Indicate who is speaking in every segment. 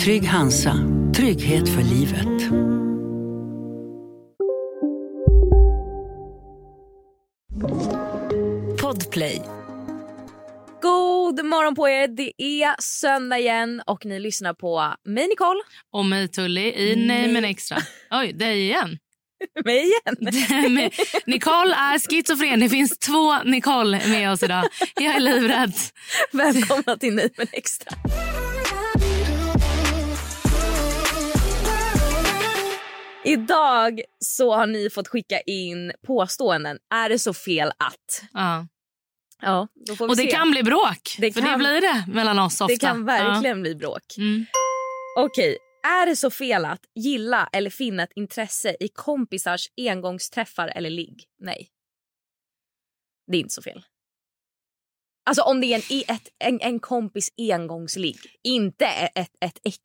Speaker 1: Trygg Hansa, trygghet för livet.
Speaker 2: Podplay.
Speaker 3: God morgon på er. Det är söndag igen och ni lyssnar på mig Nicole.
Speaker 2: Och mig Tully i
Speaker 3: Mm.
Speaker 2: Nej men extra. Oj, dig igen.
Speaker 3: Mig igen.
Speaker 2: Men Nicole är schizofren. Det finns två Nicole med oss idag. Jag är livrädd.
Speaker 3: Välkomna till Nej men extra. Idag så har ni fått skicka in påståenden. Är det så fel att?
Speaker 2: Ja.
Speaker 3: Ja, då får vi
Speaker 2: Och det
Speaker 3: se.
Speaker 2: kan bli bråk.
Speaker 3: Det
Speaker 2: för det
Speaker 3: kan-
Speaker 2: blir det mellan oss ofta.
Speaker 3: det kan verkligen bli bråk.
Speaker 2: Ja. Mm.
Speaker 3: Okej, är det så fel att gilla eller finna ett intresse i kompisars engångsträffar eller ligg? Nej. Det är inte så fel. Alltså om det är en, i- ett, en, en kompis engångsligg, inte e- ett, ett ex.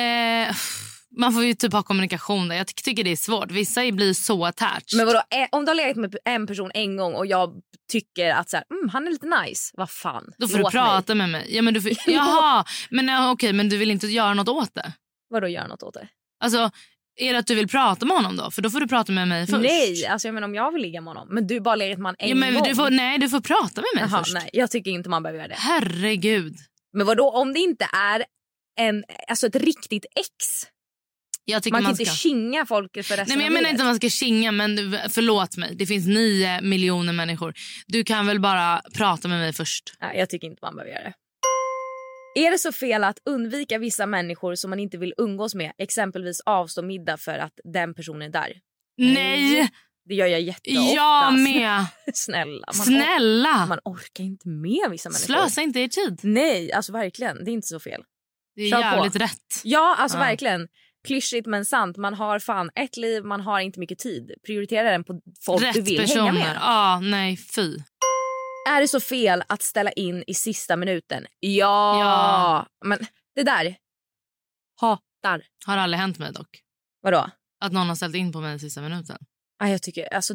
Speaker 2: Eh, man får ju typ ha kommunikation där. Jag ty- tycker det är svårt. Vissa blir så attached.
Speaker 3: Men vadå, eh, om du har legat med en person en gång och jag tycker att så här, mm, han är lite nice, vad fan.
Speaker 2: Då får
Speaker 3: låt
Speaker 2: du
Speaker 3: Mig.
Speaker 2: prata med mig. Ja, men du får, jaha, men ja, okej, men du vill inte göra något åt det?
Speaker 3: Vadå, gör något åt det?
Speaker 2: Alltså, är det att du vill prata med honom då? För då får du prata med mig först.
Speaker 3: Nej, alltså jag menar om jag vill ligga med honom. Men du har bara legat med honom en
Speaker 2: ja, men
Speaker 3: gång.
Speaker 2: du får, nej, du får prata med mig
Speaker 3: Jaha,
Speaker 2: först.
Speaker 3: nej, jag tycker inte man behöver göra det.
Speaker 2: Herregud.
Speaker 3: Men vadå, om det inte är en, alltså ett riktigt ex?
Speaker 2: Jag tycker
Speaker 3: Man
Speaker 2: man,
Speaker 3: kan inte
Speaker 2: ska...
Speaker 3: tjinga folk för resten
Speaker 2: Nej, men jag
Speaker 3: av
Speaker 2: menar
Speaker 3: livet.
Speaker 2: inte att man ska kinga, men du- förlåt mig. Det finns nio miljoner människor. Du kan väl bara prata med mig först?
Speaker 3: Nej, jag tycker inte man behöver göra det. Är det så fel att undvika vissa människor som man inte vill umgås med? Exempelvis avstå middag för att den personen är där.
Speaker 2: Nej,
Speaker 3: Det gör jag jätteofta.
Speaker 2: jag med.
Speaker 3: Snälla. Man, Or-
Speaker 2: Snälla,
Speaker 3: man orkar inte med vissa människor.
Speaker 2: slösa inte er tid.
Speaker 3: Nej, alltså verkligen. Det är inte så fel.
Speaker 2: Det är
Speaker 3: Kör på.
Speaker 2: jävligt rätt.
Speaker 3: Ja, alltså
Speaker 2: Ja.
Speaker 3: verkligen. Klyschigt men sant. Man har fan ett liv, man har inte mycket tid. Prioritera den på folk du
Speaker 2: rätt
Speaker 3: vill
Speaker 2: personer.
Speaker 3: hänga med.
Speaker 2: Ja, nej, fy.
Speaker 3: Är det så fel att ställa in i sista minuten? Ja!
Speaker 2: Ja.
Speaker 3: Men det där hatar.
Speaker 2: Har aldrig hänt mig dock.
Speaker 3: Vadå?
Speaker 2: Att någon har ställt in på mig i sista minuten.
Speaker 3: Ah, jag tycker alltså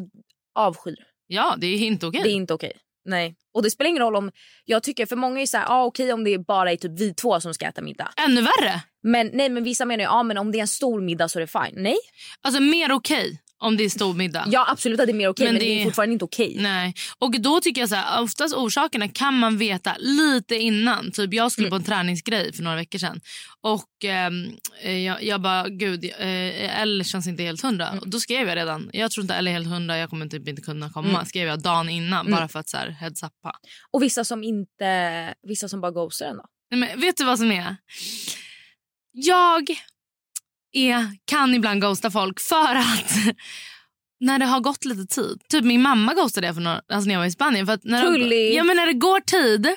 Speaker 3: avskyr.
Speaker 2: Ja, det är inte okej.
Speaker 3: Det är inte okej. Nej. Och det spelar ingen roll om jag tycker för många är så här, ah, okej om det är bara är typ vi två som ska äta middag.
Speaker 2: Ännu värre.
Speaker 3: Men nej men vissa menar ju ah, men om det är en stor middag så är det fine. Nej.
Speaker 2: Alltså mer okej om det är stor middag.
Speaker 3: Ja absolut att det är mer okej men,
Speaker 2: Men
Speaker 3: det,
Speaker 2: det-
Speaker 3: är fortfarande inte okej.
Speaker 2: Nej. Och då tycker jag så här, oftast orsakerna kan man veta lite innan. Typ jag skulle på en träningsgrej för några veckor sedan. Och ehm, eh, jag, jag bara, gud, eh, Elle känns inte helt hundra. Och då skrev jag redan, jag tror inte Elle är helt hundra, jag kommer typ inte kunna komma. Skrev jag dagen innan, bara för att så här, heads uppa.
Speaker 3: Och vissa som inte, vissa som bara ghostar en då.
Speaker 2: Nej, men vet du vad som är? Jag är, kan ibland ghosta folk för att när det har gått lite tid. Typ min mamma ghostade jag för några, alltså när jag var i Spanien. För att när
Speaker 3: Tully.
Speaker 2: Det, ja, men när det går tid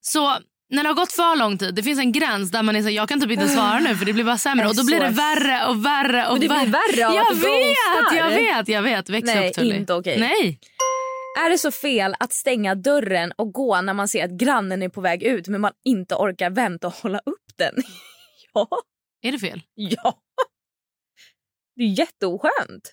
Speaker 2: så när det har gått för lång tid, det finns en gräns där man är så här, jag kan typ inte svara nu för det blir bara sämre.
Speaker 3: Jag är
Speaker 2: Och då blir det
Speaker 3: så-
Speaker 2: värre och värre och
Speaker 3: Men det blir värre av
Speaker 2: jag
Speaker 3: att du ghostar.
Speaker 2: vet, jag vet, jag vet. Väx
Speaker 3: Nej,
Speaker 2: upp Tully.
Speaker 3: inte okej.
Speaker 2: Nej,
Speaker 3: Är det så fel att stänga dörren och gå när man ser att grannen är på väg ut men man inte orkar vänta och hålla upp den? ja,
Speaker 2: är det fel?
Speaker 3: ja. Det är jätteoskönt.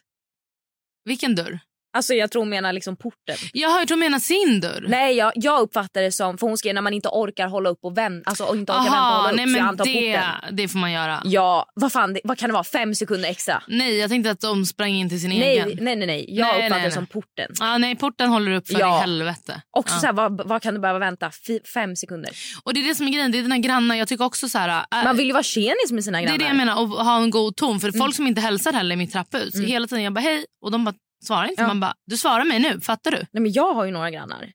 Speaker 2: Vilken dörr?
Speaker 3: Alltså jag tror hon menar liksom porten.
Speaker 2: Jaha, jag tror du menar sin dörr.
Speaker 3: Nej, jag, jag uppfattar det som, för hon skrev när man inte orkar hålla upp och vänta, alltså och inte orkar vänta och hålla upp
Speaker 2: nej,
Speaker 3: så jag
Speaker 2: men
Speaker 3: antar porten.
Speaker 2: det, det får man göra.
Speaker 3: Ja, vad fan, det, vad kan det vara? Fem sekunder extra?
Speaker 2: Nej, jag tänkte att de sprang in till sin
Speaker 3: Nej,
Speaker 2: egen.
Speaker 3: nej, nej, nej. jag
Speaker 2: Nej,
Speaker 3: uppfattar
Speaker 2: nej,
Speaker 3: det
Speaker 2: nej.
Speaker 3: som porten.
Speaker 2: Ah, nej, porten håller upp för
Speaker 3: Ja.
Speaker 2: i helvete.
Speaker 3: Också
Speaker 2: Ja.
Speaker 3: så här, vad, vad kan du behöva vänta? Fy, fem sekunder.
Speaker 2: Och det är det som är grejen, det är dina grannar. Jag tycker också så här, äh,
Speaker 3: Man vill Mm. ju vara tjenis med sina
Speaker 2: det
Speaker 3: grannar.
Speaker 2: är det jag menar, och ha en god ton. För folk som inte hälsar heller i mitt trapphus. Hela tiden jag bara hej och de bara Svarar inte.
Speaker 3: Mm. Ja.
Speaker 2: Man bara, du svarar mig nu, fattar du?
Speaker 3: Nej, men jag har ju några grannar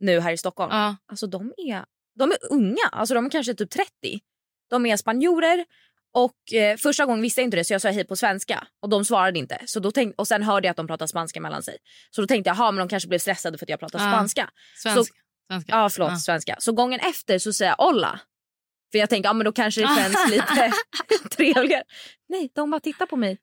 Speaker 3: nu här i Stockholm.
Speaker 2: Ja.
Speaker 3: Alltså de är, de är unga, alltså de är kanske typ 30. De är spanjorer och eh, första gången visste jag inte det så jag sa hej på svenska och de svarade inte. Så då tänk, och sen hörde jag att de pratade spanska mellan sig. Så då tänkte jag, ha men de kanske blev stressade för att jag pratar
Speaker 2: Ja.
Speaker 3: spanska.
Speaker 2: Svensk,
Speaker 3: Så-
Speaker 2: svenska.
Speaker 3: Ja, förlåt, svenska. Så gången efter så säger jag olla. För jag tänker, ja men då kanske det känns lite trevligare. Nej, de bara tittar på mig.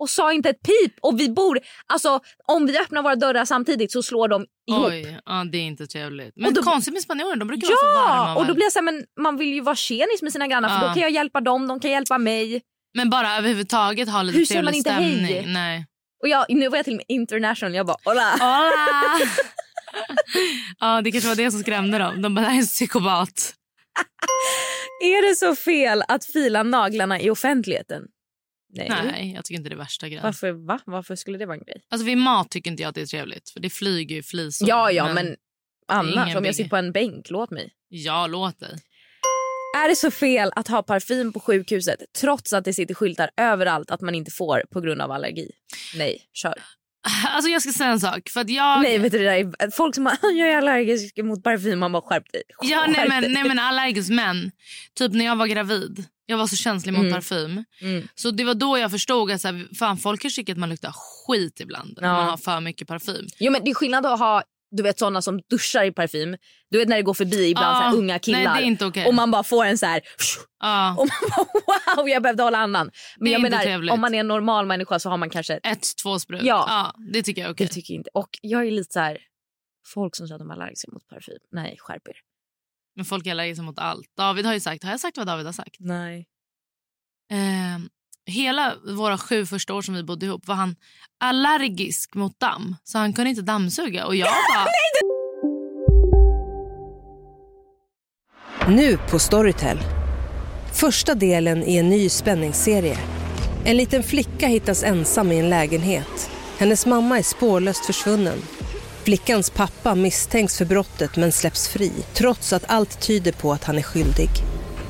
Speaker 3: Och sa inte ett pip. Och vi bor, alltså om vi öppnar våra dörrar samtidigt så slår de ihop.
Speaker 2: Oj, ja, det är inte trevligt. Men
Speaker 3: Och då-
Speaker 2: konstigt med spanjorer, de brukar vara så varma.
Speaker 3: Ja!
Speaker 2: va?
Speaker 3: Och då blir jag så här, men man vill ju vara tjenis med sina grannar för
Speaker 2: Ja.
Speaker 3: då kan jag hjälpa dem, de kan hjälpa mig.
Speaker 2: Men bara överhuvudtaget ha lite
Speaker 3: Hur säger man
Speaker 2: trevlig
Speaker 3: inte hej?
Speaker 2: stämning. Nej.
Speaker 3: Och jag, nu var jag till och med international, jag bara hola.
Speaker 2: Hola! Ah. ja, det kanske var det som skrämde dem. De bara, det här är en psykopat.
Speaker 3: Är det så fel att fila naglarna i offentligheten? Nej.
Speaker 2: Nej, jag tycker inte det är värsta grejen.
Speaker 3: Varför, va? Varför skulle det vara en grej?
Speaker 2: Alltså vid mat tycker inte jag att det är trevligt. För det flyger ju flisor.
Speaker 3: ja, ja, men, annars
Speaker 2: ingen
Speaker 3: om
Speaker 2: biggie.
Speaker 3: jag sitter på en bänk, låt mig.
Speaker 2: Ja, låt dig.
Speaker 3: Är det så fel att ha parfym på sjukhuset trots att det sitter skyltar överallt att man inte får på grund av allergi? Nej, kör.
Speaker 2: Alltså jag ska säga en sak. För att jag...
Speaker 3: Nej, vet du, det där är folk som bara, jag är allergisk mot parfym, man bara skärp dig.
Speaker 2: Ja, nej
Speaker 3: Skärp
Speaker 2: men,
Speaker 3: dig."
Speaker 2: nej men allergisk män. Typ när jag var gravid. Jag var så känslig mot
Speaker 3: Mm.
Speaker 2: parfym.
Speaker 3: Mm.
Speaker 2: Så det var då jag förstod att så här, fan, folk kanske tycker att man luktar skit ibland. När
Speaker 3: Ja.
Speaker 2: man har för mycket parfym.
Speaker 3: Jo, men det är skillnad att ha du vet såna som duschar i parfym. Du vet när det går förbi ibland så här,
Speaker 2: Ah,
Speaker 3: unga killar.
Speaker 2: Nej, det är inte okej.
Speaker 3: Och man bara får en så här...
Speaker 2: Ja.
Speaker 3: Och man bara, wow, jag behövde hålla andan.
Speaker 2: Det
Speaker 3: Men
Speaker 2: är
Speaker 3: jag
Speaker 2: inte
Speaker 3: menar,
Speaker 2: trevligt.
Speaker 3: om man är en normal människa så har man kanske...
Speaker 2: Ett, två sprut.
Speaker 3: Ja.
Speaker 2: det tycker jag är okej.
Speaker 3: Det tycker jag inte. Och jag är lite så här... Folk som säger att de är allergiska mot parfym. Nej, skärp er.
Speaker 2: Men folk är allergiska mot allt. David har ju sagt, har jag sagt vad David har sagt?
Speaker 3: Nej.
Speaker 2: Eh, hela våra sju första år som vi bodde ihop var han allergisk mot damm. Så han kunde inte dammsuga. Och jag bara,
Speaker 4: Nu på Storytel. Första delen i en ny spänningsserie. En liten flicka hittas ensam i en lägenhet. Hennes mamma är spårlöst försvunnen. Flickans pappa misstänks för brottet men släpps fri trots att allt tyder på att han är skyldig.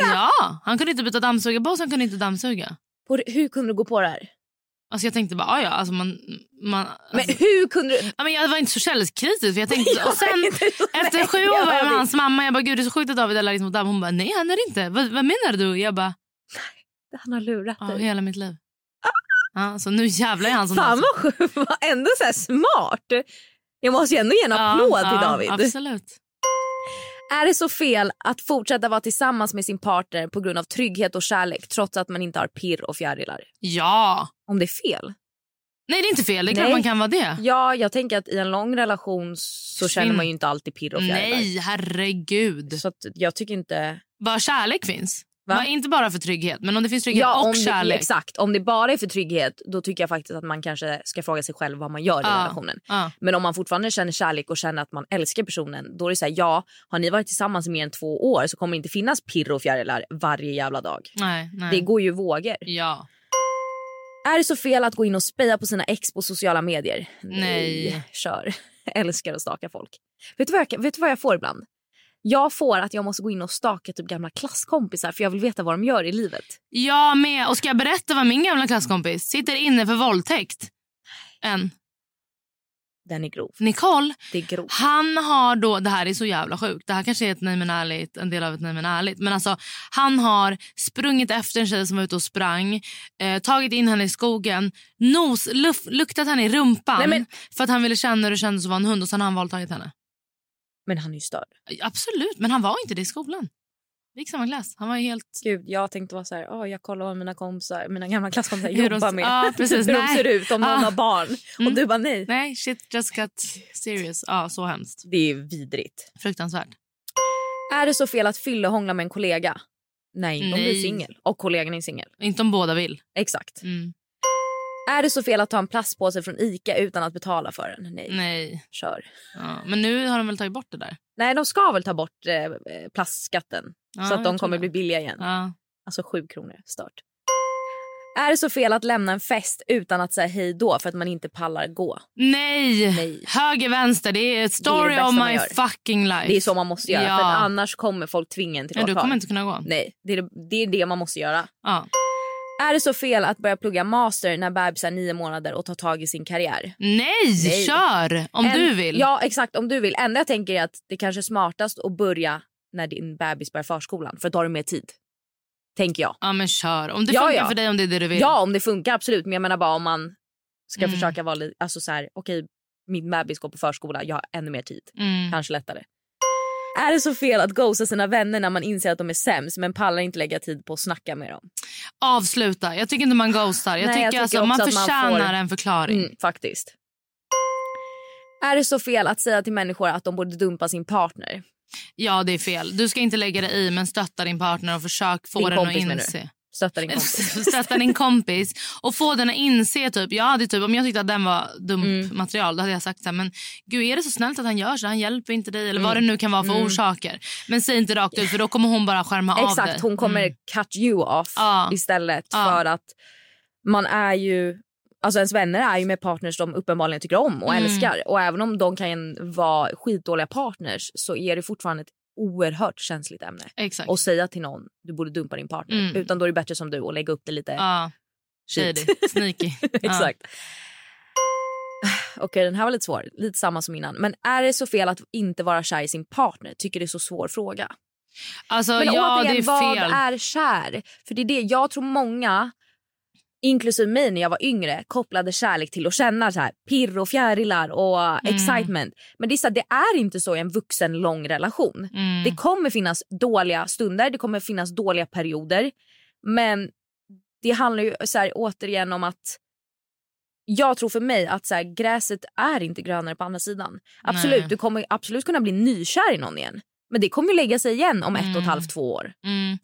Speaker 2: ja, han kunde inte byta dammsugarbås, han kunde inte dammsuga.
Speaker 3: På, hur kunde du gå på det här?
Speaker 2: Alltså jag tänkte bara, "Ah, ja, alltså man... man
Speaker 3: Men
Speaker 2: alltså,
Speaker 3: hur kunde du...
Speaker 2: ja, men jag var inte så källskritisk. För jag tänkte,
Speaker 3: Jag
Speaker 2: och sen,
Speaker 3: vet inte.
Speaker 2: efter
Speaker 3: Nej,
Speaker 2: sju år var jag med
Speaker 3: vet
Speaker 2: hans mamma. Jag bara, gud det är så sjukt att David är allergisk mot damm. Hon bara, nej han är det inte. Vad, vad menar du? Jag bara,
Speaker 3: inte. Han har lurat
Speaker 2: ja,
Speaker 3: dig.
Speaker 2: hela mitt liv. Ja, så nu jävlar är han som
Speaker 3: Fan
Speaker 2: dammsugare.
Speaker 3: vad sjukt. Vad Ändå så här smart. Jag måste ju ändå ge en applåd till David.
Speaker 2: Absolut.
Speaker 3: Är det så fel att fortsätta vara tillsammans med sin partner på grund av trygghet och kärlek trots att man inte har pirr och fjärilar?
Speaker 2: Ja.
Speaker 3: Om det är fel?
Speaker 2: Nej, det är inte fel. Det är klart
Speaker 3: Nej.
Speaker 2: man kan vara det.
Speaker 3: Ja, jag tänker att i en lång relation så känner man ju inte alltid pirr och fjärilar.
Speaker 2: Nej, herregud.
Speaker 3: Så att jag tycker inte...
Speaker 2: Bara kärlek finns.
Speaker 3: Va?
Speaker 2: Bara- Inte bara för trygghet, men om det finns trygghet
Speaker 3: Ja,
Speaker 2: och
Speaker 3: om det,
Speaker 2: kärlek.
Speaker 3: exakt. Om det bara är för trygghet då tycker jag faktiskt att man kanske ska fråga sig själv vad man gör i
Speaker 2: Ja.
Speaker 3: relationen.
Speaker 2: Ja.
Speaker 3: Men om man fortfarande känner kärlek och känner att man älskar personen då är det så här, ja, har ni varit tillsammans i mer än två år så kommer det inte finnas pirr och fjärilar varje jävla dag.
Speaker 2: Nej, nej.
Speaker 3: Det går ju i vågor.
Speaker 2: Ja.
Speaker 3: Är det så fel att gå in och speja på sina ex på sociala medier?
Speaker 2: Nej.
Speaker 3: Kör. Älskar att staka folk. Vet du, vad jag, vet du vad jag får ibland? Jag får att jag måste gå in och staka typ gamla klasskompisar för jag vill veta vad de gör i livet.
Speaker 2: Jag med. Och ska jag berätta vad min gamla klasskompis sitter inne för våldtäkt? En.
Speaker 3: Den är grov.
Speaker 2: Nicole,
Speaker 3: Det är grovt.
Speaker 2: han har då... Det här är så jävla sjukt. Det här kanske är ett nej men ärligt, en del av ett nej men ärligt. Men alltså, han har sprungit efter en tjej som var ute och sprang. Eh, tagit in henne i skogen. Nos, luf, luktat henne i rumpan.
Speaker 3: Nej, men-
Speaker 2: För att han ville känna hur det kändes att vara en hund. Och sen har han våldtagit henne.
Speaker 3: Men han är ju störd.
Speaker 2: Absolut, men han var inte det i skolan. Vi gick samma klass. Han var ju helt...
Speaker 3: Gud, jag tänkte vara så här, "Åh, jag kollar vad mina kompisar, mina gamla klasskompisar
Speaker 2: Hur de-
Speaker 3: jobbar med.
Speaker 2: Ja, precis.
Speaker 3: Hur de
Speaker 2: Nej.
Speaker 3: ser ut, om någon
Speaker 2: Ah.
Speaker 3: har barn.
Speaker 2: Mm.
Speaker 3: Och du bara nej.
Speaker 2: Nej, shit just got serious. Ja, så hemskt.
Speaker 3: Det är vidrigt.
Speaker 2: Fruktansvärt.
Speaker 3: Är det så fel att fyllehångla med en kollega? Nej, om du är
Speaker 2: Nej.
Speaker 3: singel. Och kollegan är singel.
Speaker 2: Inte om båda vill.
Speaker 3: Exakt.
Speaker 2: Mm.
Speaker 3: Är det så fel att ta en plastpåse från Ica utan att betala för den? Nej.
Speaker 2: Nej.
Speaker 3: Kör.
Speaker 2: Ja. Men nu har de väl tagit bort det där?
Speaker 3: Nej, de ska väl ta bort eh, plastskatten
Speaker 2: Ja,
Speaker 3: så att
Speaker 2: jag
Speaker 3: de
Speaker 2: tror
Speaker 3: kommer
Speaker 2: det.
Speaker 3: bli billiga igen.
Speaker 2: Ja.
Speaker 3: Alltså sju kronor. Stört. Är det så fel att lämna en fest utan att säga hej då för att man inte pallar gå?
Speaker 2: Nej.
Speaker 3: Nej.
Speaker 2: Höger, vänster. Det är story
Speaker 3: bästa
Speaker 2: of
Speaker 3: man
Speaker 2: my
Speaker 3: gör.
Speaker 2: fucking life.
Speaker 3: Det är så man måste göra
Speaker 2: Ja.
Speaker 3: för att annars kommer folk tvinga en till
Speaker 2: Nej,
Speaker 3: att
Speaker 2: du
Speaker 3: vara kvar.
Speaker 2: kommer inte kunna gå.
Speaker 3: Nej, det är det, det är det man måste göra.
Speaker 2: Ja.
Speaker 3: Är det så fel att börja plugga master när bebis är nio månader och ta tag i sin karriär?
Speaker 2: Nej,
Speaker 3: Nej.
Speaker 2: kör! Om
Speaker 3: En-
Speaker 2: du vill.
Speaker 3: Ja, exakt. Om du vill. Enda jag tänker är att det kanske är smartast att börja när din bebis börjar förskolan för då har du mer tid. Tänker jag.
Speaker 2: Ja, men kör. Om det
Speaker 3: Ja,
Speaker 2: funkar
Speaker 3: ja.
Speaker 2: för dig, om det är det du vill.
Speaker 3: Ja, om det funkar absolut. Men jag menar bara om man ska
Speaker 2: Mm.
Speaker 3: försöka vara lite, alltså så här, okej, min bebis går på förskola, jag har ännu mer tid.
Speaker 2: Mm.
Speaker 3: Kanske lättare. Är det så fel att ghosta sina vänner när man inser att de är sämst men pallar inte lägga tid på att snacka med dem?
Speaker 2: Avsluta. Jag tycker inte man ghostar. Jag
Speaker 3: Nej,
Speaker 2: tycker,
Speaker 3: jag tycker
Speaker 2: alltså, man
Speaker 3: också att man
Speaker 2: förtjänar
Speaker 3: får-
Speaker 2: en förklaring.
Speaker 3: Mm, faktiskt. Är det så fel att säga till människor att de borde dumpa sin partner?
Speaker 2: Ja, det är fel. Du ska inte lägga dig i, men stötta din partner och försök få
Speaker 3: Din
Speaker 2: den att
Speaker 3: kompis, menar du?
Speaker 2: inse.
Speaker 3: Stötta din kompis.
Speaker 2: Stötta din kompis och få den att inse. Typ, jag hade typ, om jag tyckte att den var dumt
Speaker 3: Mm.
Speaker 2: material då hade jag sagt så här, men gud är det så snällt att han gör så? Han hjälper inte dig. Eller vad
Speaker 3: Mm.
Speaker 2: det nu kan vara för orsaker. Men säg inte rakt ut för då kommer hon bara skärma av dig.
Speaker 3: Exakt, hon kommer
Speaker 2: Mm.
Speaker 3: cut you off
Speaker 2: Ja.
Speaker 3: istället
Speaker 2: Ja.
Speaker 3: för att man är ju... Alltså ens vänner är ju med partners de uppenbarligen tycker om och
Speaker 2: Mm.
Speaker 3: älskar. Och även om de kan vara skitdåliga partners så är det fortfarande ett oerhört känsligt ämne.
Speaker 2: Exakt.
Speaker 3: Och säga till någon du borde dumpa din partner.
Speaker 2: Mm.
Speaker 3: Utan då är det bättre som du och lägga upp det lite.
Speaker 2: Ja. Shady. Sneaky.
Speaker 3: Exakt. Okej, den här var lite svår. Lite samma som innan. Men är det så fel att inte vara kär i sin partner? Tycker det är så svår fråga.
Speaker 2: Ja. Alltså,
Speaker 3: Men
Speaker 2: ja,
Speaker 3: återigen,
Speaker 2: det är
Speaker 3: vad
Speaker 2: fel.
Speaker 3: är kär? För det är det jag tror många, inklusive mig när jag var yngre, kopplade kärlek till och känna så här pirr och fjärilar och
Speaker 2: Mm.
Speaker 3: excitement. Men det är, så här, det är inte så i en vuxen lång relation.
Speaker 2: Mm.
Speaker 3: Det kommer finnas dåliga stunder, det kommer finnas dåliga perioder. Men det handlar ju så här, återigen om att jag tror för mig att så här, gräset är inte grönare på andra sidan. Absolut,
Speaker 2: Nej.
Speaker 3: Du kommer absolut kunna bli nykär i någon igen. Men det kommer ju lägga sig igen om ett och ett
Speaker 2: Mm.
Speaker 3: halvt, två år.
Speaker 2: Mm.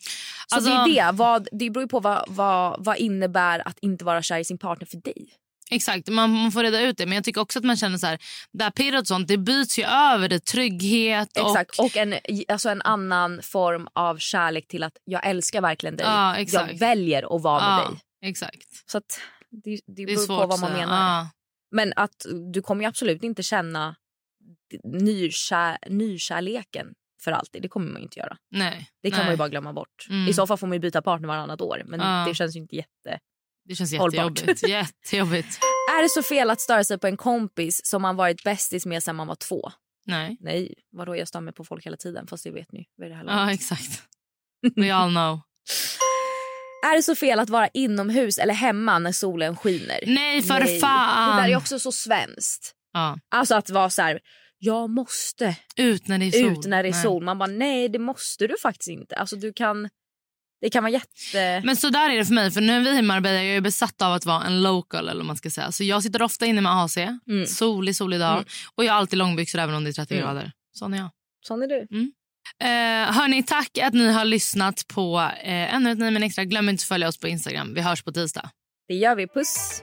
Speaker 3: Så
Speaker 2: Alltså-
Speaker 3: det är det. Vad, det beror ju på vad, vad, vad innebär att inte vara kär i sin partner för dig.
Speaker 2: Exakt, man, man får reda ut det. Men jag tycker också att man känner så här, där pirret och sånt, det byts ju över i trygghet
Speaker 3: Exakt.
Speaker 2: och...
Speaker 3: Och en, alltså en annan form av kärlek till att jag älskar verkligen dig.
Speaker 2: Ja, exakt.
Speaker 3: jag väljer att vara med
Speaker 2: Ja,
Speaker 3: dig.
Speaker 2: Exakt.
Speaker 3: Så att det, det
Speaker 2: Det är
Speaker 3: beror
Speaker 2: svårt
Speaker 3: på vad man
Speaker 2: att säga. Ah,
Speaker 3: menar.
Speaker 2: Ja.
Speaker 3: Men att du kommer ju absolut inte känna nykär, nykärleken för alltid. Det kommer man ju inte göra.
Speaker 2: Nej.
Speaker 3: Det kan
Speaker 2: nej.
Speaker 3: man ju bara glömma bort.
Speaker 2: Mm.
Speaker 3: I så fall får man ju byta partner varannat år. Men
Speaker 2: Ja.
Speaker 3: det känns ju inte jätte...
Speaker 2: Det känns
Speaker 3: Hållbart.
Speaker 2: jättejobbigt. jättejobbigt.
Speaker 3: Är det så fel att störa sig på en kompis som man varit bästis med sedan man var två?
Speaker 2: Nej.
Speaker 3: Nej, vadå jag stör mig på folk hela tiden. Fast det vet ni vid det här laget.
Speaker 2: Ja, exakt. We all know.
Speaker 3: Är det så fel att vara inomhus eller hemma när solen skiner?
Speaker 2: Nej, för
Speaker 3: Det där
Speaker 2: fan!
Speaker 3: är också så svenskt.
Speaker 2: Ja.
Speaker 3: Alltså att vara så här, jag måste
Speaker 2: Ut när det är sol.
Speaker 3: ut när det är
Speaker 2: Nej.
Speaker 3: sol. Man bara, nej det måste du faktiskt inte. Alltså du kan, det kan vara jätte...
Speaker 2: Men så där är det för mig. För nu är vi i Marbella, jag är besatt av att vara en local. Eller vad man ska säga. Så jag sitter ofta inne med AC, solig, solig dag.
Speaker 3: Mm.
Speaker 2: Och jag har alltid långbyxor även om det är 30
Speaker 3: Mm.
Speaker 2: grader. Sån är jag.
Speaker 3: Sån är du.
Speaker 2: Eh, hörni, tack att ni har lyssnat på eh, ännu ett 9 min extra. Glöm inte att följa oss på Instagram. Vi hörs på tisdag.
Speaker 3: Det gör vi, puss!